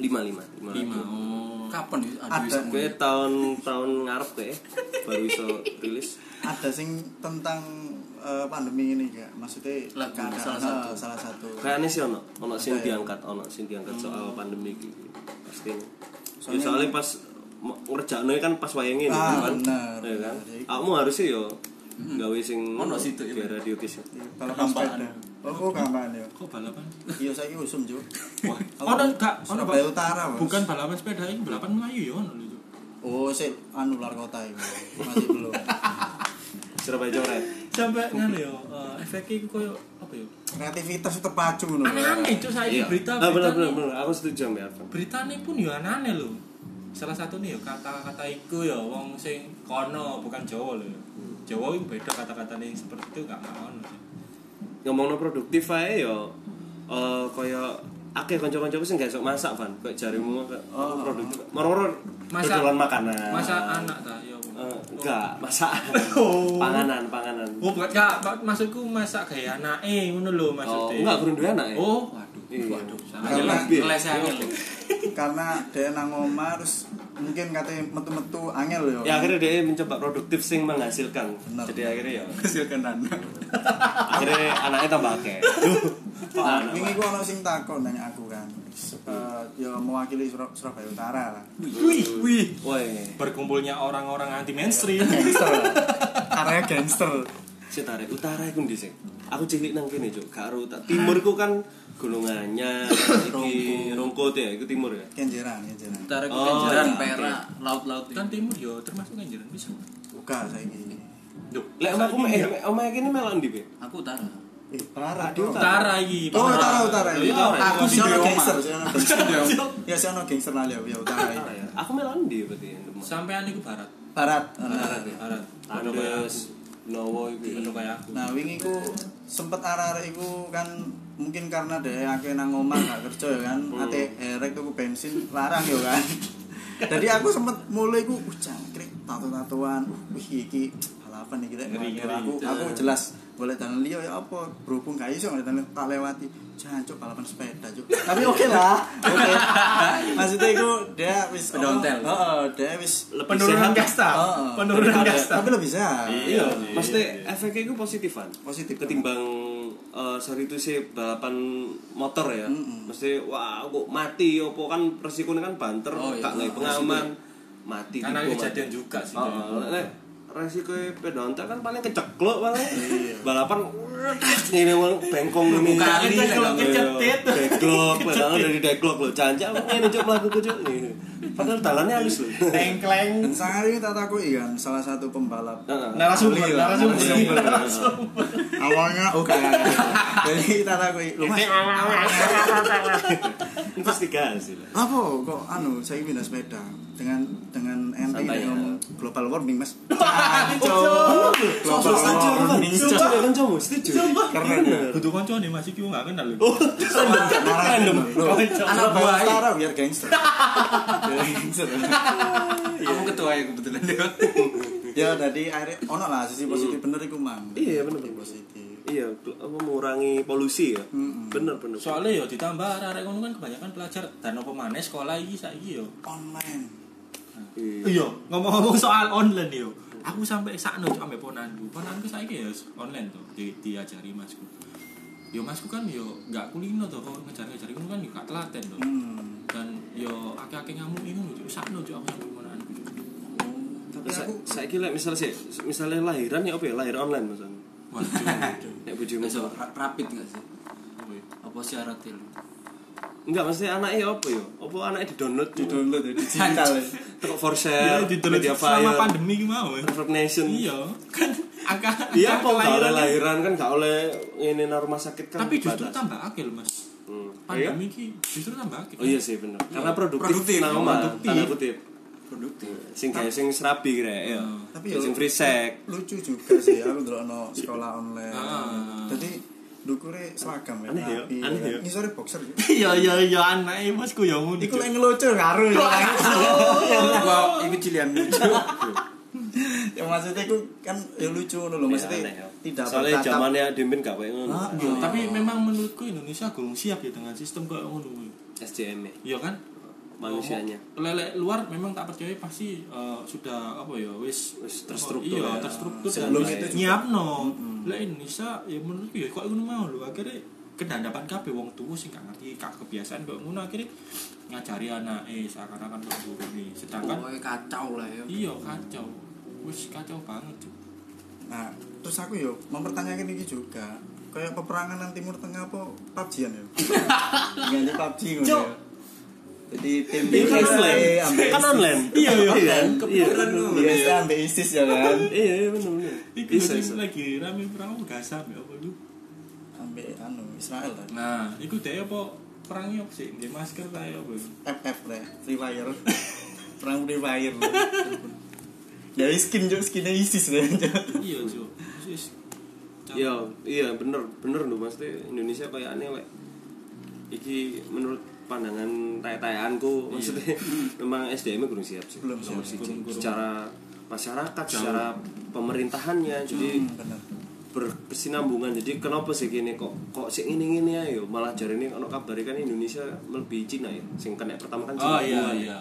F: lima lima lima,
E: Lima. Oh.
I: Kapan ya? Aduh,
D: Ada.
I: semua.
F: gue tahun tahun ngarep deh baru bisa rilis
D: Ada sing tentang eh, pandemi ini enggak? Maksudnya
I: Lagu,
D: keadaan-
I: salah satu.
D: eh, salah satu.
F: kayaknya sih ono ono sing
D: ya?
F: diangkat ono sing diangkat
E: Hmm.
F: soal pandemi gitu pasti soalnya,
D: Soalnya-
F: soalnya pas m- ngerjakno kan pas wayangin
D: Ah,
F: kan
D: bener, Hmm.
F: ya kan
D: bener. Jadi-
F: kamu harusnya yo gawe sing
I: Ono situ, iya.
F: di radio kis
D: Balapan sepeda. Oh, kampanye ya.
E: Kok balapan?
D: Iya, saya usum, Cuk.
E: [laughs]
I: Oh,
E: Ono gak ono
D: Surabaya Utara, Mas.
E: Bukan balapan sepeda ini balapan Melayu ya ono lho. Cuk.
D: Oh, sih anu luar kota itu. Masih
I: [laughs]
D: belum.
F: Surabaya Coret
E: Sampai ngene ya, eh, efeknya iku koyo apa ya?
D: Kreativitas itu terpacu loh.
E: Aneh-aneh cuk
I: Iya.
E: saiki berita
F: ah bener bener
E: nih-
F: bener aku setuju sama Arfan
E: beritane pun yo anane lho. Salah satu nih yo kata-kata iku yo wong sing kono bukan Jawa lho. ya. Jawa itu beda kata-katane seperti itu gak gak ono sih.
F: ngomongno produktif ae yo eh kaya akeh kanca-kanca sing gak sok masak Van kok jarimu kok "Oh, produktif
E: Oh.
F: moro-moro
E: Masak.
F: dodolan makanan
E: Masa anak ta ya yo.
F: Eh, enggak masak panganan panganan
E: Oh, bukan gak mak- maksudku masak gaya anake ngono lho
F: oh,
E: maksudnya.
F: enggak kurang duwe anak ya
E: Oh, waduh.
F: Iya.
D: Karena
I: Lesnya angel.
D: karena dia nang omah terus mungkin katanya metu-metu angel loh.
F: ya akhirnya dia mencoba produktif sing menghasilkan
D: Benar.
F: jadi akhirnya ya
I: Kesilakan Anda.
F: akhirnya anaknya tambah akeh
D: Pak, ini gua ono sing takon nanya aku kan. Eh, ya mewakili Sur- Surabaya Utara lah.
E: Wih, wih.
F: woi
E: Berkumpulnya orang-orang anti mainstream.
D: Gangster. Karena gangster.
F: si tarik utara iku ndi sing aku cilik nang kene cuk karo uta- timur iku kan gunungannya iki rungkut ya iku timur ya
D: Kenjeran, kenjeran.
I: Utara
F: Oh,
I: kekenjeran
F: iya,
I: perak, laut-laut.
E: kan timur yo termasuk kan jalan bisa. ya,
D: Buka saya ini.
E: Duh,
F: lek omahku me- omah kene melok ndi Be?
I: Aku utara.
D: Eh, Utara. dia Utara.
E: utara iki.
D: Oh, Utara, Utara.
F: Iya,
D: Utara.
F: iya.
D: Aku sih
I: Iya,
D: ono
I: iya.
D: gangster, sih ono gangster. Ya sih ono gangster lah ya Utara.
F: Ah,
D: ini.
F: ya. Aku melon di berarti yang Demak.
E: Sampean iku barat.
D: Barat.
E: Barat.
D: Eh,
E: ya, Barat.
F: Anu
E: Padahal-
F: wis Nowo iki.
E: Bener kayak aku.
D: Nah, wingi ku sempet arah-arah iku kan mungkin karena dhewe akeh nang omah gak kerja ya kan.
E: Oh.
D: Ate erek tuku bensin larang ya
E: [laughs]
D: kan. Jadi aku sempet mulai ku uh, jangkrik tato-tatoan. Uh, wih iki halapan iki rek. Waduh, Aku aku jelas boleh jalan liya ya apa berhubung gak iso ngeliat jalan- tak lewati jancuk balapan sepeda cuk tapi oke lah oke
E: [laughs]
D: maksudnya itu dia wis
I: Pedontel.
D: heeh dia wis
F: Lebih
E: Penurunan
F: sehat.
E: kasta.
D: Heeh.
E: Penurunan kasta.
D: tapi lebih sehat
F: Iya, maksudnya efeknya itu positifan.
D: Positif.
F: Ketimbang eh, sorry itu sih balapan motor ya. Mesti wah kok mati opo kan resikonya kan banter,
I: Oh, iya.
F: gak ngai pengaman, mati.
E: Karena
F: tiba,
E: kejadian
F: mati.
E: juga sih.
F: Oh, oh, lek Ah, resiko pedonta kan paling keceklok paling balapan wedes, ngene wong bengkong ngene
I: Kali lah, kalau
F: kecetit deklok padahal dari deklok lo cancak ngene cuk mlaku cuk Ngene. padahal dalannya halus lho
D: Dan sehari tak takut kan salah satu pembalap.
F: Heeh.
D: Narasumber,
I: Ahli lah,
D: narasumber.
I: narasumber.
D: Awalnya oke. Jadi tak takut, "Lu, Mas,
F: investigasi lah
D: apa kok anu saya pindah sepeda dengan dengan ente ini
F: Santai ya.
D: ngomong global warming mas
E: Oh,
F: Sumpah, sumpah, sumpah, sumpah, setuju.
D: keren ya
E: Butuh konco nih masih kiu nggak kenal lho.
D: random
I: Anak buah ae.
D: setara biar gangster
I: Aku ketua ya kebetulan.
D: [laughs] ya tadi akhirnya ono lah sisi positif bener iku mang
F: Iya, bener, bener.
D: positif
F: Iya, apa, mengurangi polusi ya. Bener bener.
E: Soalnya yo ya ditambah arek kono kan kebanyakan pelajar dan apa maneh sekolah iki saiki ya? yo.
D: online
F: Iya.
E: Iya, ngomong-ngomong soal online yo. Aku sampai sakno cuk ambek ponanku. Ponanku saiki ya online tuh di, diajari masku. Yo masku kan yo nggak kulino tuh kok ngejar-ngejar ngono kan yo gak telaten tuh.
D: Hmm.
E: Dan yo akeh-akeh ngamuk ngono cuk sakno cuk aku sampai ponanku. cuk.
F: Tapi saya saya kira misal sih, misalnya lahiran ya apa ya lahir online misalnya.
E: Waduh. [laughs]
F: Nek bojomu so.
I: Iso ra- rapid gak sih? Apa syaratnya lu?
F: Enggak, maksudnya anaknya apa ya? Apa anaknya di-download di
D: download ya digital ya.
F: Teko for
E: Ya
F: share,
E: diteliti
F: media
E: selama
F: fire,
E: pandemi ki mau. ya.
F: Reverb Nation.
E: Iya, kan angka
F: Iya,
E: angka
F: kok gak oleh
E: kelahiran-
F: lahiran kan gak oleh ini nang rumah sakit kan.
E: Tapi justru
F: dibatasi.
E: tambah akeh lho, Mas.
F: Hmm. Iya.
E: Pandemi ki justru tambah akeh.
F: Oh iya sih bener. Karena produktif,
I: Produktif,
F: nah, omah,
E: produktif.
F: tanda kutip.
I: Produktif.
F: Sing gawe sing serabi kira ya.
D: Tapi
F: Tapi
D: ya-
F: sing free sex.
D: lucu juga sih aku dulu ono sekolah online
E: Ah.
D: jadi dukure seragam ya
F: Aneh ya,
D: rapi,
F: aneh ya.
D: kan. ngisore boxer ya
E: Iya iya iya anake bosku ya ngono.
D: iku
E: Iku
D: lek ngelucu karo ya
I: Gua iku cilian lucu.
D: Ya, maksudnya iku kan ya lucu ngono lho maksudnya
F: aneh ya.
D: tidak
F: Soalnya
D: bertatap
F: zamannya Dimin gak kayak ngono.
D: Ah,
E: Iya, tapi memang menurutku Indonesia belum siap ya dengan sistem kayak ngono kuwi.
F: SDM -nya.
E: Iya Oh. kan?
F: manusianya.
E: Oh, Lelek luar memang tak percaya pasti eh, sudah apa ya wis
F: Wis terstruktur
E: Iya,
F: ya.
E: terstruktur
D: Sebelum
E: dan
D: itu juga.
E: nyiapno. Lek Indonesia ya menurutku ya kok ngono mau lho akhirnya kedandapan kabeh wong tuwa sing gak ngerti gak kebiasaan kok ngono akhirnya ngajari anake seakan-akan kok ngurungi. Sedangkan
I: Pokoknya kacau lah ya.
E: iya kacau. Wis kacau banget, Cuk.
D: Nah, terus aku yo mempertanyakan ini juga. Kayak peperangan nang Timur Tengah apa PUBG-an
F: [laughs]
D: ya? Ganti PUBG ngono. ya. Jadi tim
F: Iya, kan
D: USA
F: online.
D: ambek
F: Kan online. Iya, iya, iya. Iya, bener, bener.
D: USA ambek ISIS ya kan.
F: Iya, iya, bener, bener.
E: Iku
F: Bisa,
E: lagi-
F: bisa.
E: lagi rame perang Gaza ya apa lu?
D: Ambek anu Israel tadi.
E: Nah, iku dhek apa perangnya apa sih? Nggih masker ta ya apa?
D: FF deh, Free Fire. Perang Free Fire. lho. Ya skin juga skinnya ISIS deh.
E: Iya, Cuk. Wis
F: Iya, iya, bener, bener loh Mas. Teh. Indonesia kayak aneh lek. Iki menurut pandangan tayanganku maksudnya memang SDM -nya belum siap sih.
D: Belum
F: Nomor
D: siap,
F: siji. Secara masyarakat, secara pemerintahannya. Jadi
D: Benar.
F: berkesinambungan jadi kenapa sih gini kok kok sih ini ini ayo malah jari ini kalau kabar kan Indonesia lebih Cina ya sing kena pertama kan Cina
E: Oh iya
F: duluan.
E: iya.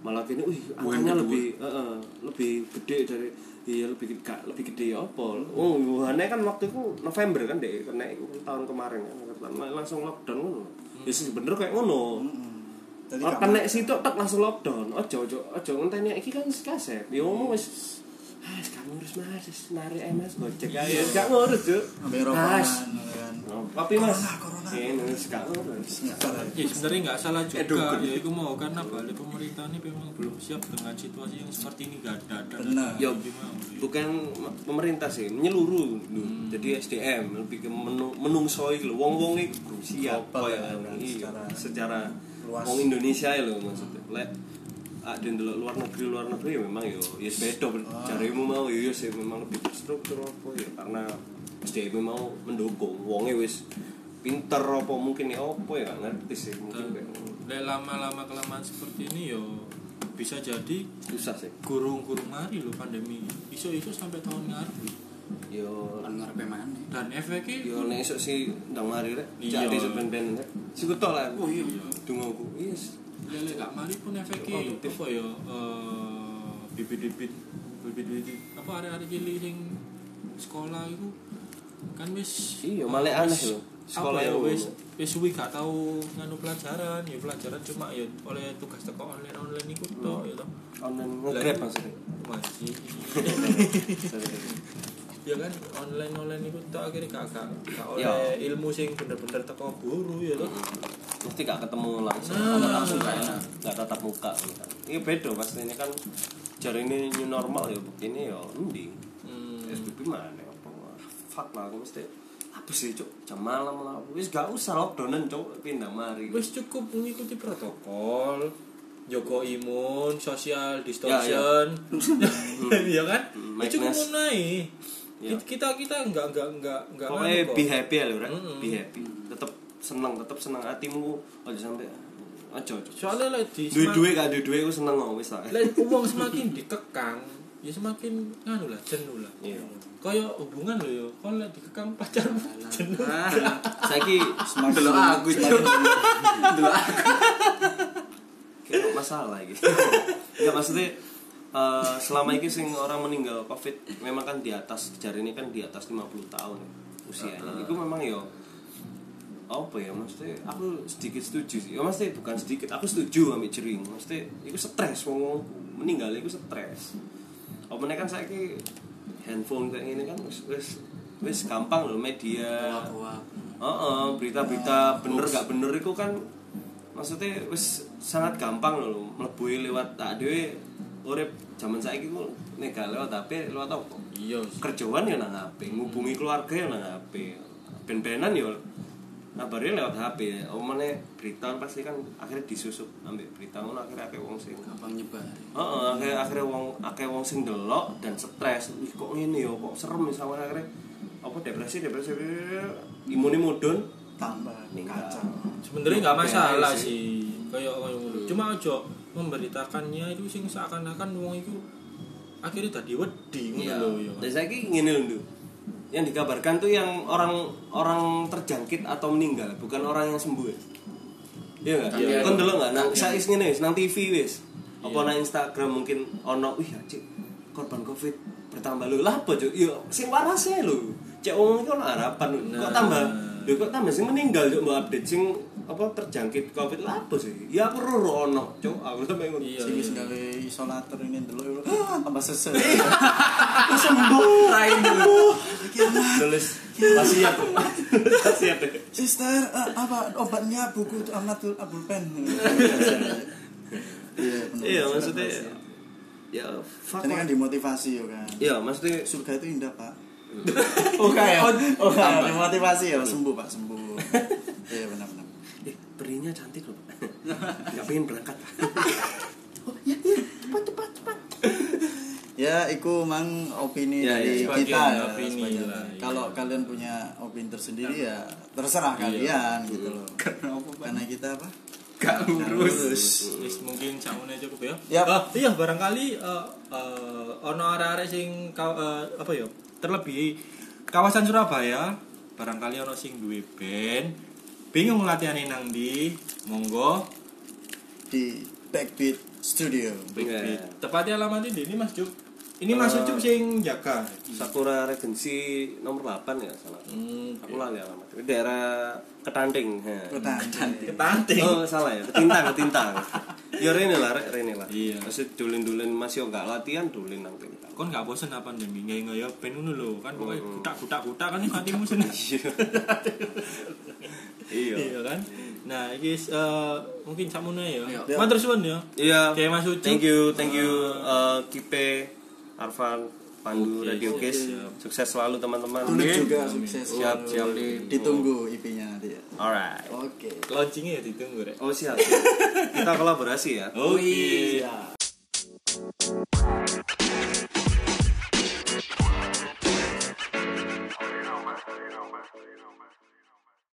F: malah kini wih angkanya lebih eh, eh, lebih gede dari iya lebih gede lebih gede ya apa oh Wuhan kan waktu itu November kan deh kena itu tahun kemarin kan Lang- langsung lockdown kan ya bener kayak ngono
D: Jadi
F: Ora
D: gak
F: kena situ tek langsung lockdown. Ojo ojo ojo ngenteni iki kan kaset. Ya ngomong wis ah wis gak ngurus mas, wis narik MS gojek ae. Wis gak ngurus, Cuk.
D: ambek
F: Ah,
D: rokokan
F: wis.
D: ya kan.
F: Tapi Mas,
D: corona.
F: ini wis gak ngurus.
D: Nyebar aja.
F: Iya.
E: Ya sebenarnya nggak salah juga
F: dukun.
E: ya itu mau karena balik pemerintah ini memang belum siap dengan situasi yang seperti ini gak ada ada
D: Benar.
F: Ya
E: Jadi mau, ya.
F: bukan pemerintah sih, menyeluruh dulu.
D: Hmm.
F: Jadi SDM lebih ke menu, menungsoi lho. Wong-wong iki krusial
D: Global
F: koyo
D: ya, kan,
F: iya,
D: secara-
F: secara
D: luas.
F: wong Indonesia ya lho maksudnya. Lek ada di luar negeri luar negeri ya memang yo ya beda
D: Ah.
F: carimu mau ya sih memang lebih terstruktur apa ya karena SDM mau mendukung wonge wis pinter apa mungkin ya apa ya nggak ngerti sih
D: Ah.
F: mungkin kayak
E: Dan lama-lama kelamaan seperti ini yo bisa jadi
F: susah sih
E: gurung-gurung mari loh pandemi iso-iso sampai tahun ngarep lho.
F: yo
I: Kan ngarepe mana?
E: dan efeknya
F: yo nek esuk si ndang mari rek
E: Iya.
F: jati sepen-pen rek siku tok lah
I: Oh iya.
F: dungo aku yes
E: lele gak mari pun efeknya apa ya eh, bibit-bibit bibit-bibit apa area-area cilik sing sekolah itu kan wis
F: Iya,
E: wis-
F: malah aneh lho. Sekolah
E: apa ya
F: yang
E: wis
F: ngono.
E: wis suwi gak tau nganu pelajaran
F: Hmm.
E: ya pelajaran cuma ya oleh tugas teko online online iku tok ya toh
F: [laughs] online nge-grab maksudnya
E: masih ya kan online online itu tak akhirnya gak gak gak
F: Ya. Hmm.
E: oleh ilmu sing bener-bener teko guru ya toh
F: mesti gak ketemu langsung
E: Nah.
F: langsung gak enak gak tatap muka gitu. ini Ah. beda pasti ini kan jari ini new normal ya bukti ini ya endi
E: Hmm.
F: SBB mana apa fuck lah aku mesti apa sih cok jam malam lah wis gak usah lockdownan cok pindah mari
E: wis cukup mengikuti protokol Joko imun, social
F: Ya,
E: distortion, ya, kan?
F: [laughs] Hmm,
E: Ya, cukup
F: Magnus.
E: naik.
F: Ya.
E: Kita kita nggak nggak nggak nggak nganu
F: pokoknya
E: kok.
F: be happy ya rek
E: Mm-mm.
F: be happy tetep seneng tetep seneng hatimu aja sampai aja aja
E: Soalnya lah di
F: duit
E: semak-
F: duit gak duit duit aku seneng kok wis lah
E: lah uang semakin dikekang, ya semakin nganu lah jenuh lah.
F: Iya.
E: Kaya hubungan lo yo, kalau lah dikekang pacarmu jenuh.
F: Ah. saiki
I: Dulu aku Cuk. Dulu aku.
F: kayak masalah gitu ya maksudnya eh, selama ini sing orang meninggal covid memang kan di atas jari ini kan di atas 50 tahun ya, usianya itu memang yo apa ya maksudnya aku sedikit setuju sih ya maksudnya bukan sedikit aku setuju ambil jering maksudnya itu stres wong wong meninggal itu stres apa meneh kan saya handphone kayak gini kan wis wis wis gampang loh media Heeh, berita-berita bener gak bener itu kan maksudnya wis sangat gampang loh melebui lewat tak dhewe urip zaman saiki ku nek gak lewat HP lewat apa?
E: Iya.
F: Kerjaan ya nang HP, ngubungi keluarga ya nang HP. Ben-benan ya ngabarnya lewat HP. Omane berita pasti kan akhirnya disusup ambek berita ngono akhirnya akeh wong sing
I: Gampang nyebar.
F: Heeh, akhirnya akhirnya wong akeh wong sing delok dan stres. Ih, kok ngene ya, kok serem ya sawane akhirnya apa depresi depresi imune mudun
D: tambah
F: Meninggal.
D: kacau
E: Sebenarnya nggak
F: Oke, Hmm.
E: masalah
F: ayo
E: sih. Kaya kaya ngono. Cuma aja memberitakannya itu sing seakan-akan wong itu akhirnya tadi wedi ngono
F: Iya.
E: lho ya.
F: Dan saya ki ngene lho, Ndu. Yang dikabarkan tuh yang orang orang terjangkit atau meninggal, bukan orang yang sembuh. Iya enggak?
E: Iya.
F: Kan delok enggak nang saiki ngene wis nang TV wis. Apa nang Instagram mungkin ono wih anjir korban Covid bertambah lho. Lah apa Cuk? Yo sing warase lho. Cek wong iki ono harapan lho. Kok tambah
E: Nah.
F: lho kok tambah sing meninggal Cuk mbok update sing apa terjangkit Covid lah apa sih? Ya aku roro ono Cuk. Aku sampe ngono.
E: Iya.
D: sing wis gawe isolator ini dulu tambah sesel
F: Rain dulu. Nulis masih ya. [laughs] Masih ya.
D: sister eh, apa obatnya buku tuh amatul abul pen iya benar.
F: Iya maksudnya
E: iya.
F: ya fuck
D: jadi kan
F: lah.
D: dimotivasi yo kan
F: Iya maksudnya
D: surga itu indah pak oke ya oke dimotivasi ya sembuh pak sembuh iya benar benar
F: eh, perinya cantik
E: [laughs]
F: loh. Pak. Nggak pengen berangkat.
D: ya itu mang opini
F: Ya,
D: dari kita
E: ya, sebagian
D: ya,
E: opini
D: sebagian.
E: lah, iya.
D: kalau kalian punya opini tersendiri ya terserah kalian gitu loh karena kita apa
I: Gak lurus.
E: Wis mungkin sakmene cukup ya.
D: Yap.
E: Ah, iya barangkali eh eh, ono arek-arek sing ka- eh, apa ya? Terlebih kawasan Surabaya barangkali ono sing duwe band bingung latihane nang ndi monggo
D: di Backbeat Studio
F: Iya.
E: tepatnya alamatnya di ini Mas Jup ini Mas Jup sing jaga
F: Sakura Regency nomor 8 ya salah.
E: hmm,
F: Aku lali alamat. Di Daerah Ketanding. Ha.
D: Ketanjung
E: ketanting
F: Oh salah ya, ketintang, ketintang. Ya Rene lah, Rek, Rene lah.
E: Iya.
F: Masih dulin-dulin masih nggak latihan dulin nang Ketintang.
E: kon gak bosen apa demi nggak nggak ya band ngono lho kan pokoknya kutak kutak kutak kan hatimu seneng
F: Iya.
E: iya kan nah iki eh, mungkin sakmono ya
I: Iya.
E: matur suwun ya
F: Iya.
E: oke Mas Ucup
F: Thank you, thank you uh, Kipe, Arfan, Pandu,
E: Oke,
F: Radio
E: oke,
F: Kiss.
E: siap.
F: Sukses selalu teman-teman.
D: Tulip juga sukses
F: Siap, siap.
D: ditunggu IP-nya nanti ya
F: Alright.
D: oke
E: launchingnya ya ditunggu rek
F: Oh siap. Kita kolaborasi ya.
E: oke